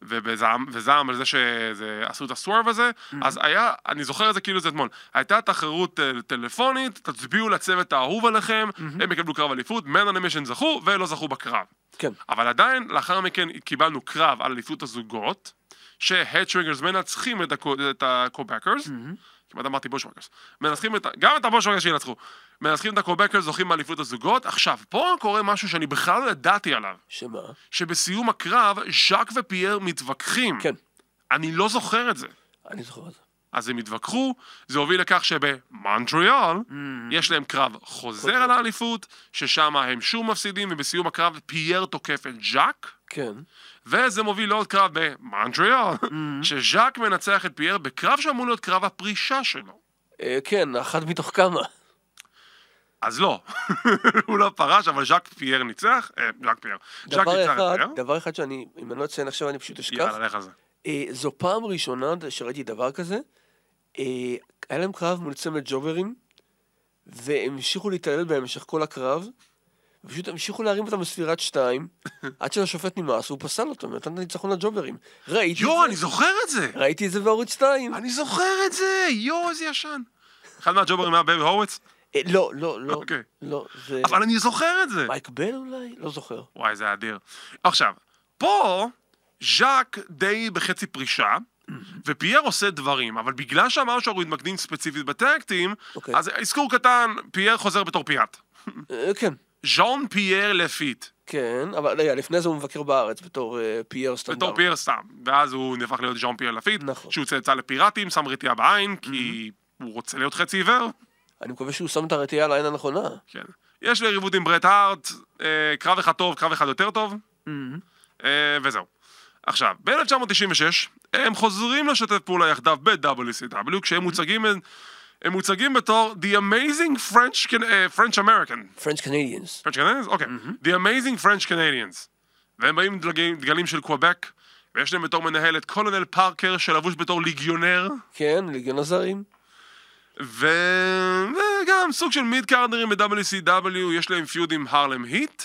[SPEAKER 4] ובזעם, וזעם על זה שעשו את הסוורב הזה, אז היה, אני זוכר את זה כאילו זה אתמול, הייתה תחרות אה, טלפונית, תצביעו לצוות האהוב עליכם, הם יקבלו קרב אליפות, מן אנימיישן זכו ולא זכו בקרב.
[SPEAKER 5] כן.
[SPEAKER 4] אבל עדיין, לאחר מכן קיבלנו קרב על אליפות הזוגות, שהדשווינגרס מנצחים את, הקו, את הקובקרס, כמעט אמרתי בושוואקרס, מנצחים את, ה- גם את הבושוואקרס שינצחו, מנצחים את הקובקרס, זוכים באליפות הזוגות, עכשיו, פה קורה משהו שאני בכלל לא ידעתי עליו,
[SPEAKER 5] שמה?
[SPEAKER 4] שבסיום הקרב, ז'אק ופייר מתווכחים.
[SPEAKER 5] כן,
[SPEAKER 4] אני לא זוכר את זה.
[SPEAKER 5] אני זוכר את זה.
[SPEAKER 4] אז הם התווכחו, זה הוביל לכך שבמונטריאל יש להם קרב חוזר על האליפות, ששם הם שוב מפסידים, ובסיום הקרב פייר תוקף את ז'אק,
[SPEAKER 5] כן.
[SPEAKER 4] וזה מוביל לעוד קרב במונטריאל, שז'אק מנצח את פייר בקרב שאמור להיות קרב הפרישה שלו.
[SPEAKER 5] אה, כן, אחת מתוך כמה.
[SPEAKER 4] אז לא, הוא לא פרש, אבל ז'אק פייר ניצח, אה, ז'אק פייר. ז'אק
[SPEAKER 5] דבר
[SPEAKER 4] ניצח
[SPEAKER 5] אחד,
[SPEAKER 4] את פייר.
[SPEAKER 5] דבר אחד שאני, אם אני לא אציין עכשיו, אני פשוט אשכח.
[SPEAKER 4] יאללה, לך על זה.
[SPEAKER 5] אה, זו פעם ראשונה שראיתי דבר כזה. אה, היה להם קרב מול צמד ג'וברים, והם המשיכו להתעלל בהם במשך כל הקרב, ופשוט המשיכו להרים אותם בספירת שתיים, עד שלשופט נמאס, והוא פסל אותם, ונתן את הניצחון לג'וברים. ראיתי
[SPEAKER 4] יואו,
[SPEAKER 5] את
[SPEAKER 4] אני
[SPEAKER 5] זה,
[SPEAKER 4] זוכר את זה!
[SPEAKER 5] ראיתי את זה בערוץ 2.
[SPEAKER 4] אני זוכר את זה! יואו, איזה ישן. אחד מהג'וברים היה ברי הורוויץ,
[SPEAKER 5] אה, לא, לא, לא,
[SPEAKER 4] אוקיי.
[SPEAKER 5] לא, זה...
[SPEAKER 4] אבל אני זוכר את זה!
[SPEAKER 5] מייק בל אולי? לא זוכר.
[SPEAKER 4] וואי, זה אדיר. עכשיו, פה ז'אק די בחצי פרישה, ופייר עושה דברים, אבל בגלל שאמר שאנחנו מתמקדים ספציפית בטקטים,
[SPEAKER 5] אוקיי.
[SPEAKER 4] אז אזכור קטן, פייר חוזר בתור פיאט.
[SPEAKER 5] אה, כן,
[SPEAKER 4] ז'אן פייר לפיט,
[SPEAKER 5] כן, אבל רגע, לפני זה הוא מבקר בארץ בתור אה, פייר סטנדרט.
[SPEAKER 4] בתור פייר סתם, ואז הוא נהפך להיות ז'אן פייר לפיט,
[SPEAKER 5] נכון.
[SPEAKER 4] שהוא צאצא לפיראטים, שם רתיעה בעין, כי הוא רוצה להיות חצי עיוור.
[SPEAKER 5] אני מקווה שהוא שם את הרתיעה על העין הנכונה.
[SPEAKER 4] כן. יש לו יריבות עם ברט הארט, אה, קרב אחד טוב, קרב אחד יותר טוב, אה, וזהו. עכשיו, ב-1996, הם חוזרים לשתף פעולה יחדיו ב-WCW, כשהם מוצגים, הם מוצגים בתור The Amazing French, Can- אה, French American.
[SPEAKER 5] French Canadians.
[SPEAKER 4] French Canadians? אוקיי. The Amazing French Canadians. והם באים עם דגלים, דגלים של קוואבק, ויש להם בתור מנהל את קולונל פארקר, שלבוש בתור ליגיונר.
[SPEAKER 5] כן, ליגיון הזרים.
[SPEAKER 4] ו... וגם סוג של מיד קארדרים ב-WCW, יש להם פיוד עם הרלם היט,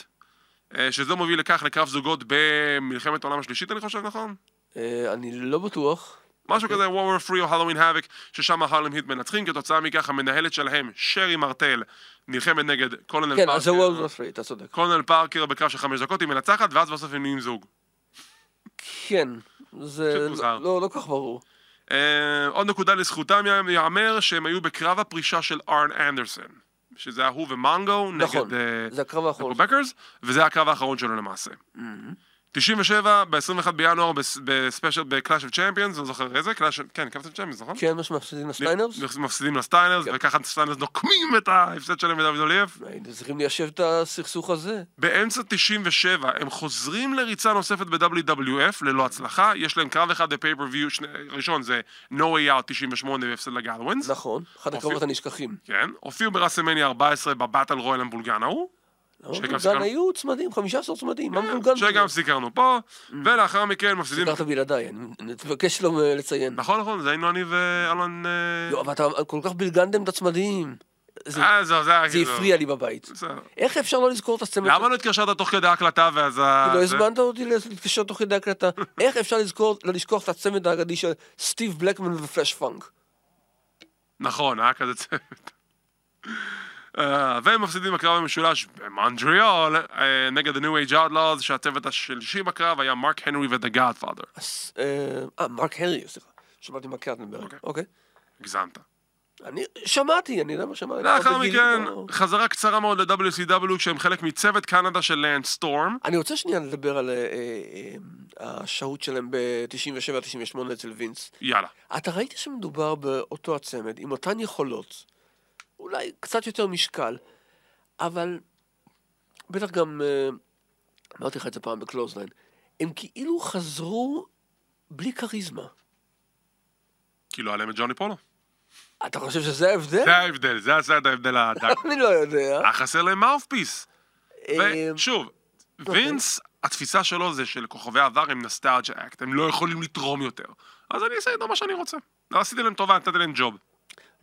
[SPEAKER 4] אה, שזה מוביל לכך לקרב זוגות במלחמת העולם השלישית, אני חושב, נכון?
[SPEAKER 5] אה, אני לא בטוח.
[SPEAKER 4] משהו כזה, War Free או Halloween Havoc, ששם הרלם היט מנצחים, כתוצאה מכך המנהלת שלהם, שרי מרטל, נלחמת נגד קולנל
[SPEAKER 5] כן, אז זה
[SPEAKER 4] פארקר.
[SPEAKER 5] World of Free, אתה צודק.
[SPEAKER 4] קולנל פארקר בקרב של חמש דקות, היא מנצחת, ואז בסוף הם נהיים זוג.
[SPEAKER 5] כן, זה
[SPEAKER 4] פשוט מוזר.
[SPEAKER 5] לא לא כל כך ברור.
[SPEAKER 4] אה, עוד נקודה לזכותם יא- ייאמר שהם היו בקרב הפרישה של ארן אנדרסון, שזה היה הוא ומנגו
[SPEAKER 5] נכון,
[SPEAKER 4] נגד אה,
[SPEAKER 5] זה הקרב האחרון. Mm-hmm.
[SPEAKER 4] בקרס, וזה הקרב האחרון שלו למעשה. 97, ב-21 בינואר, בס- בספיישל, בקלאש אוף צ'מפיונס, אני לא זוכר איזה, Clash of- כן, קלאש אוף צ'מפיונס, נכון?
[SPEAKER 5] כן, מה שמפסידים לסטיינרס?
[SPEAKER 4] מפסידים לסטיינרס, וככה סטיינרס נוקמים את ההפסד שלהם ב-WF.
[SPEAKER 5] היינו צריכים ליישב את הסכסוך הזה.
[SPEAKER 4] באמצע 97 הם חוזרים לריצה נוספת ב-WWF ללא הצלחה, יש להם קרב אחד בפייפריוויו, ראשון זה No Way Out 98 והפסד לגלווינס,
[SPEAKER 5] נכון, אחד הקרבות הנשכחים.
[SPEAKER 4] כן, הופיעו ברסלמניה 14 בבטל רויאל עם בולגנאו,
[SPEAKER 5] אבל
[SPEAKER 4] שגם
[SPEAKER 5] מבולגן
[SPEAKER 4] סיכרנו-
[SPEAKER 5] אה, היו צמדים, 15 צמדים, מה מבולגן?
[SPEAKER 4] שגם סיקרנו פה,
[SPEAKER 5] Mm.
[SPEAKER 4] ולאחר מכן מפסידים...
[SPEAKER 5] סיכרת בלעדיי, אני אני מבקש לא אה, לציין.
[SPEAKER 4] נכון, נכון, זה היינו אני ואלון... אה,
[SPEAKER 5] לא, אבל אתה כל כך בלגנתם את הצמדים. זה
[SPEAKER 4] אה, זהו, זה היה
[SPEAKER 5] זה
[SPEAKER 4] כאילו-
[SPEAKER 5] הפריע לי בבית.
[SPEAKER 4] בסדר.
[SPEAKER 5] איך אפשר לא לזכור את הסצנה?
[SPEAKER 4] למה לא התקשרת תוך כדי ההקלטה ואז...
[SPEAKER 5] כי לא הזמנת אותי להתקשר תוך כדי הקלטה. איך אפשר לזכור, לא לשכוח את הצמד האגדי של סטיב בלקמן ופלאש פאנק?
[SPEAKER 4] נכון, היה כזה צוות. אה, והם מפסידים בקרב המשולש במונטריאול אה, נגד ה-New Age Outlaws, שהצוות השלישי בקרב היה מרק הנרי ו-The Godfather.
[SPEAKER 5] אז, אה, אה, מרק הרי, סליחה. שמעתי מה קרטנברג,
[SPEAKER 4] אוקיי.
[SPEAKER 5] אוקיי.
[SPEAKER 4] הגזמת.
[SPEAKER 5] אני שמעתי, אני לא יודע מה שמעתי.
[SPEAKER 4] לאחר
[SPEAKER 5] עוד בגיל,
[SPEAKER 4] מכן,
[SPEAKER 5] לא-
[SPEAKER 4] חזרה קצרה מאוד ל-WCW, כשהם חלק מצוות קנדה של לנד סטורם.
[SPEAKER 5] אני רוצה שנייה לדבר על אה, אה, אה, השהות שלהם ב-97-98 אצל וינס.
[SPEAKER 4] יאללה.
[SPEAKER 5] אתה ראית שמדובר באותו הצמד, עם אותן יכולות, אולי קצת יותר משקל, אבל בטח גם, אה, אמרתי לך את זה פעם בקלוזליין, הם כאילו חזרו בלי כריזמה.
[SPEAKER 4] כי לא היה להם את ג'וני פולו.
[SPEAKER 5] אתה חושב שזה ההבדל?
[SPEAKER 4] זה ההבדל, זה עשה את ההבדל הדק.
[SPEAKER 5] אני לא יודע.
[SPEAKER 4] היה חסר להם מאופפיס.
[SPEAKER 5] אה,
[SPEAKER 4] ושוב, וינס, התפיסה שלו זה שלכוכבי העבר הם נוסטארג'ה אקט, הם לא יכולים לתרום יותר. אז אני אעשה איתו מה שאני רוצה. לא עשיתי להם טובה, נתתי להם ג'וב.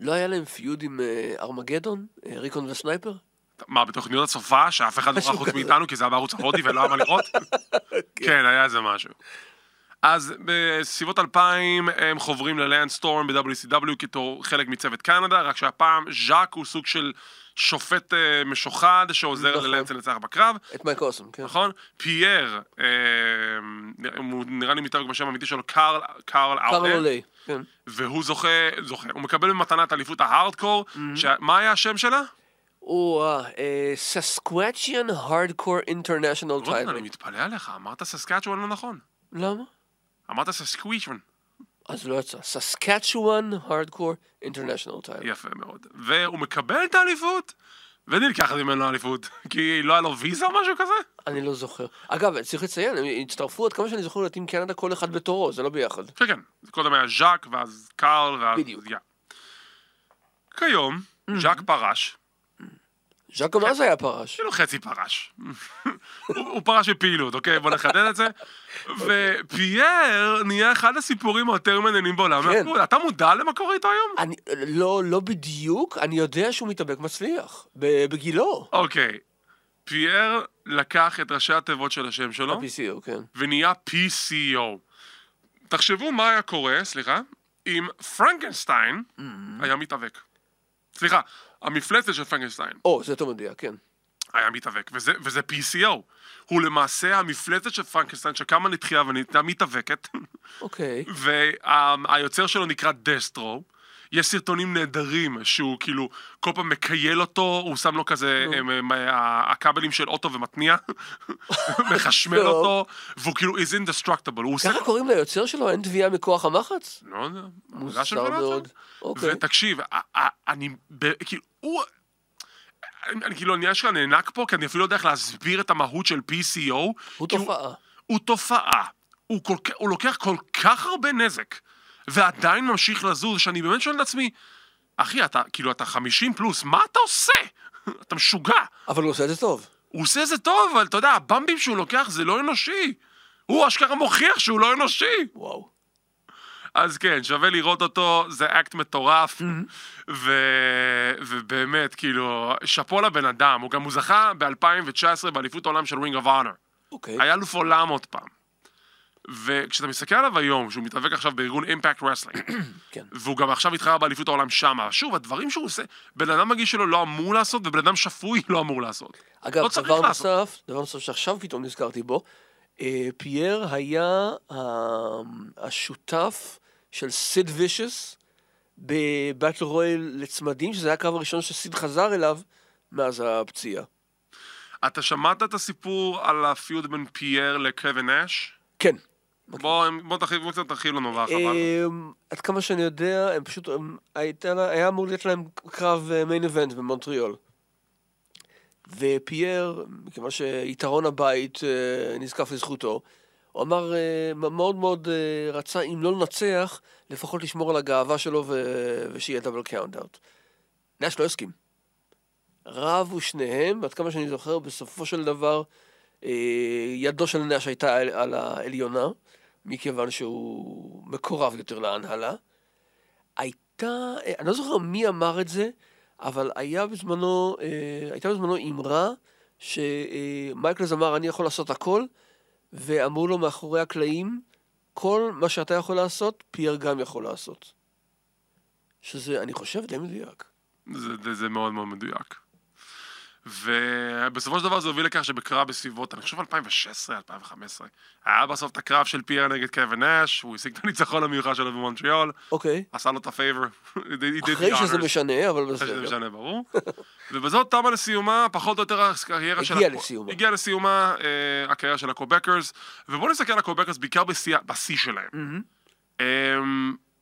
[SPEAKER 5] לא היה להם פיוד עם אה, ארמגדון, אה, ריקון וסנייפר?
[SPEAKER 4] מה, בתוכניות הצופה, שאף אחד לא ראה
[SPEAKER 5] משהו
[SPEAKER 4] חוץ
[SPEAKER 5] כזה.
[SPEAKER 4] מאיתנו, כי זה היה בערוץ ההודי ולא היה מה לראות? כן, היה איזה משהו. אז בסביבות 2000 הם חוברים ללנדסטורם ב-WCW כתור חלק מצוות קנדה, רק שהפעם ז'אק הוא סוג של שופט אה, משוחד שעוזר
[SPEAKER 5] נכון.
[SPEAKER 4] ללנדס לנצח בקרב.
[SPEAKER 5] את מייק אוסם, כן.
[SPEAKER 4] נכון? פייר, אה, נראה- הוא נראה לי מתאבק בשם האמיתי שלו, קארל, קארל
[SPEAKER 5] קרלו
[SPEAKER 4] אאוטן,
[SPEAKER 5] ליי, כן.
[SPEAKER 4] והוא זוכה, זוכה, הוא מקבל במתנה את אליפות ההארדקור, שה- מה היה השם שלה?
[SPEAKER 5] הוא אה, ססקואצ'יאן הארדקור אינטרנשיונל
[SPEAKER 4] רודן, לא אני
[SPEAKER 5] טייטל.
[SPEAKER 4] מתפלא עליך, אמרת ססקצ'ואן לא נכון.
[SPEAKER 5] למה?
[SPEAKER 4] אמרת ססקוויצ'ואן.
[SPEAKER 5] אז לא יצא. ססקצ'ואן הארדקור אינטרנשיונל טייטל.
[SPEAKER 4] יפה מאוד. והוא מקבל את האליפות, ונלקחת ממנו האליפות, כי לא היה לו ויזה או משהו כזה?
[SPEAKER 5] אני לא זוכר. אגב, צריך לציין, הם הצטרפו עד כמה שאני זוכר לטים קנדה כל אחד בתורו, זה לא ביחד.
[SPEAKER 4] כן, כן. קודם היה ז'אק, ואז קארל, ואז...
[SPEAKER 5] בדיוק. Mm-hmm.
[SPEAKER 4] יא. כיום, ז'אק פרש,
[SPEAKER 5] ז'אקו מאז היה פרש.
[SPEAKER 4] כאילו חצי פרש. הוא הוא פרש בפעילות, אוקיי? בוא נחדד את זה.
[SPEAKER 5] אוקיי.
[SPEAKER 4] ופייר נהיה אחד הסיפורים היותר מעניינים בעולם.
[SPEAKER 5] כן.
[SPEAKER 4] מהפעול. אתה מודע למה קורה איתו היום?
[SPEAKER 5] אני, לא, לא בדיוק, אני יודע שהוא מתאבק מצליח. ב- בגילו.
[SPEAKER 4] אוקיי. פייר לקח את ראשי התיבות של השם שלו,
[SPEAKER 5] ה-PCO, כן.
[SPEAKER 4] ונהיה PCO. תחשבו מה היה קורה, סליחה, אם פרנקנשטיין היה מתאבק. סליחה, המפלצת של פרנקנשטיין.
[SPEAKER 5] או, זה יותר מדויק, כן.
[SPEAKER 4] היה מתאבק, וזה, וזה PCO. הוא למעשה המפלצת של פרנקסטיין שקמה לתחייה ונהייתה מתאבקת,
[SPEAKER 5] אוקיי.
[SPEAKER 4] והיוצר שלו נקרא דסטרו. יש סרטונים נהדרים שהוא כאילו כל פעם מקייל אותו, הוא שם לו כזה הם, הם, ה- הכבלים של אוטו ומתניע, מחשמל
[SPEAKER 5] טוב.
[SPEAKER 4] אותו, והוא כאילו is indestructible, הוא עושה...
[SPEAKER 5] ככה קוראים ליוצר שלו? אין תביעה מכוח המחץ?
[SPEAKER 4] לא יודע, עבודה של
[SPEAKER 5] מוזר
[SPEAKER 4] בלאצר.
[SPEAKER 5] מאוד. אוקיי.
[SPEAKER 4] ותקשיב, א- א- אני, ב- כאילו, הוא... אני אני כאילו, אני אשכרה נאנק פה, כי אני אפילו לא יודע איך להסביר את המהות של PCO.
[SPEAKER 5] הוא
[SPEAKER 4] כי
[SPEAKER 5] תופעה.
[SPEAKER 4] הוא תופעה. הוא, כל, כך- הוא לוקח כל כך הרבה נזק, ועדיין ממשיך לזוז, שאני באמת שואל את עצמי, אחי, אתה, כאילו, אתה 50 פלוס, מה אתה עושה? אתה משוגע.
[SPEAKER 5] אבל הוא עושה את זה טוב.
[SPEAKER 4] הוא עושה את זה טוב, אבל אתה יודע, הבמבים שהוא לוקח זה לא אנושי. הוא אשכרה מוכיח שהוא לא אנושי.
[SPEAKER 5] וואו.
[SPEAKER 4] אז כן, שווה לראות אותו, זה אקט מטורף, ו... ובאמת, כאילו, שאפו לבן אדם, הוא גם, הוא זכה ב-2019 באליפות העולם של רינג אוף אונר.
[SPEAKER 5] אוקיי.
[SPEAKER 4] היה אלוף עולם עוד פעם. וכשאתה מסתכל עליו היום, שהוא מתאבק עכשיו בארגון אימפקט רסלינג,
[SPEAKER 5] כן.
[SPEAKER 4] והוא גם עכשיו התחרה באליפות העולם שמה, שוב, הדברים שהוא עושה, בן אדם מגיש שלו לא אמור לעשות, ובן אדם שפוי לא אמור לעשות.
[SPEAKER 5] אגב,
[SPEAKER 4] לא צריך
[SPEAKER 5] דבר
[SPEAKER 4] לעשות.
[SPEAKER 5] נוסף, דבר נוסף שעכשיו פתאום נזכרתי בו, אה, פייר היה ה- השותף של סיד וישס בבטל רויאל לצמדים, שזה היה הקרב הראשון שסיד חזר אליו מאז הפציעה.
[SPEAKER 4] אתה שמעת את הסיפור על הפיוד בין פייר לקווין אש?
[SPEAKER 5] כן.
[SPEAKER 4] בוא, בוא תרחיב, בוא קצת תרחיב לנו בהרחבה.
[SPEAKER 5] אמ, עד כמה שאני יודע, הם פשוט, הם- הייתה לה- היה אמור להיות להם קרב מיין איבנט במונטריאול. ופייר, מכיוון שיתרון הבית אה, נזקף לזכותו, הוא אמר, אה, מ- מאוד מאוד אה, רצה, אם לא לנצח, לפחות לשמור על הגאווה שלו ו- ושיהיה דאבל קאונט-אאוט. נאש לא הסכים. רבו שניהם, ועד כמה שאני זוכר, בסופו של דבר, אה, ידו של נאש הייתה על, על העליונה, מכיוון שהוא מקורב יותר להנהלה. הייתה, אה, אני לא זוכר מי אמר את זה, אבל היה בזמנו, אה, הייתה בזמנו אמרה שמייקלס אמר, אני יכול לעשות הכל, ואמרו לו מאחורי הקלעים, כל מה שאתה יכול לעשות, פייר גם יכול לעשות. שזה, אני חושב, די מדויק.
[SPEAKER 4] זה, זה, זה מאוד מאוד מדויק. ובסופו של דבר זה הוביל לכך שבקרב בסביבות, אני חושב 2016, 2015, היה בסוף את הקרב של פייר נגד קווין אש, הוא השיג את הניצחון המיוחד שלו במונטריאול,
[SPEAKER 5] אוקיי.
[SPEAKER 4] עשה לו את הפייבר. He did- he did the
[SPEAKER 5] אחרי שזה
[SPEAKER 4] honors.
[SPEAKER 5] משנה, אבל
[SPEAKER 4] אחרי שזה
[SPEAKER 5] בסדר.
[SPEAKER 4] משנה, ברור. ובזאת תמה לסיומה, פחות או יותר הקריירה של...
[SPEAKER 5] הגיעה
[SPEAKER 4] הקו-
[SPEAKER 5] לסיומה.
[SPEAKER 4] הגיעה לסיומה אה, הקריירה של הקובקרס, ובואו נסתכל על הקובקרס בעיקר בשיא- בשיא שלהם. אמ,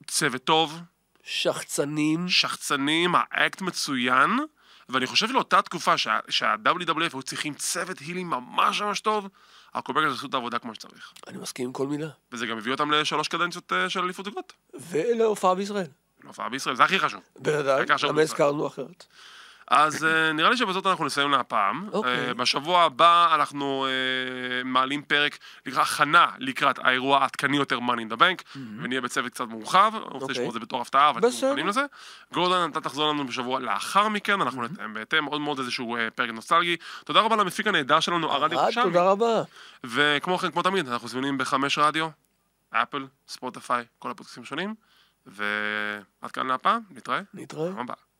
[SPEAKER 4] צוות טוב,
[SPEAKER 5] שחצנים.
[SPEAKER 4] שחצנים, האקט מצוין, ואני חושב לאותה תקופה שה- שה-WWF היו צריכים צוות הילים ממש ממש טוב, הקובקרס עשו את העבודה כמו שצריך.
[SPEAKER 5] אני מסכים עם כל מילה. זה
[SPEAKER 4] וזה גם הביא אותם לשלוש קדנציות אה, של אליפות זוגות.
[SPEAKER 5] ולהופעה בישראל.
[SPEAKER 4] להופעה בישראל, זה הכי חשוב.
[SPEAKER 5] בוודאי,
[SPEAKER 4] העיקר שהגוף
[SPEAKER 5] למה הזכרנו אחרת?
[SPEAKER 4] אז אה, נראה לי שבזאת אנחנו נסיים להפעם.
[SPEAKER 5] אוקיי.
[SPEAKER 4] אה, בשבוע הבא אנחנו אה, מעלים פרק לקראת הכנה לקראת האירוע העדכני יותר Money in the Bank, ונהיה בצוות קצת מורחב, אני רוצה לשמור את זה בתור הפתעה, אבל אנחנו
[SPEAKER 5] אוקיי. בסדר.
[SPEAKER 4] מוכנים לזה. גורדון, אתה תחזור לנו בשבוע לאחר מכן, אנחנו נתאם בהתאם, עוד מאוד איזשהו אה, פרק נוסטלגי. תודה רבה למפיק הנהדר שלנו, ארד
[SPEAKER 5] אה,
[SPEAKER 4] ירושלמי.
[SPEAKER 5] תודה רבה.
[SPEAKER 4] וכמו כן, כמו תמיד, אנחנו זמינים בחמש רדיו, אפל, ספוטפיי, כל הפודקאסים השונים, ועד כאן להפעם, נתראה.
[SPEAKER 5] נתראה.
[SPEAKER 4] פעם הבאה.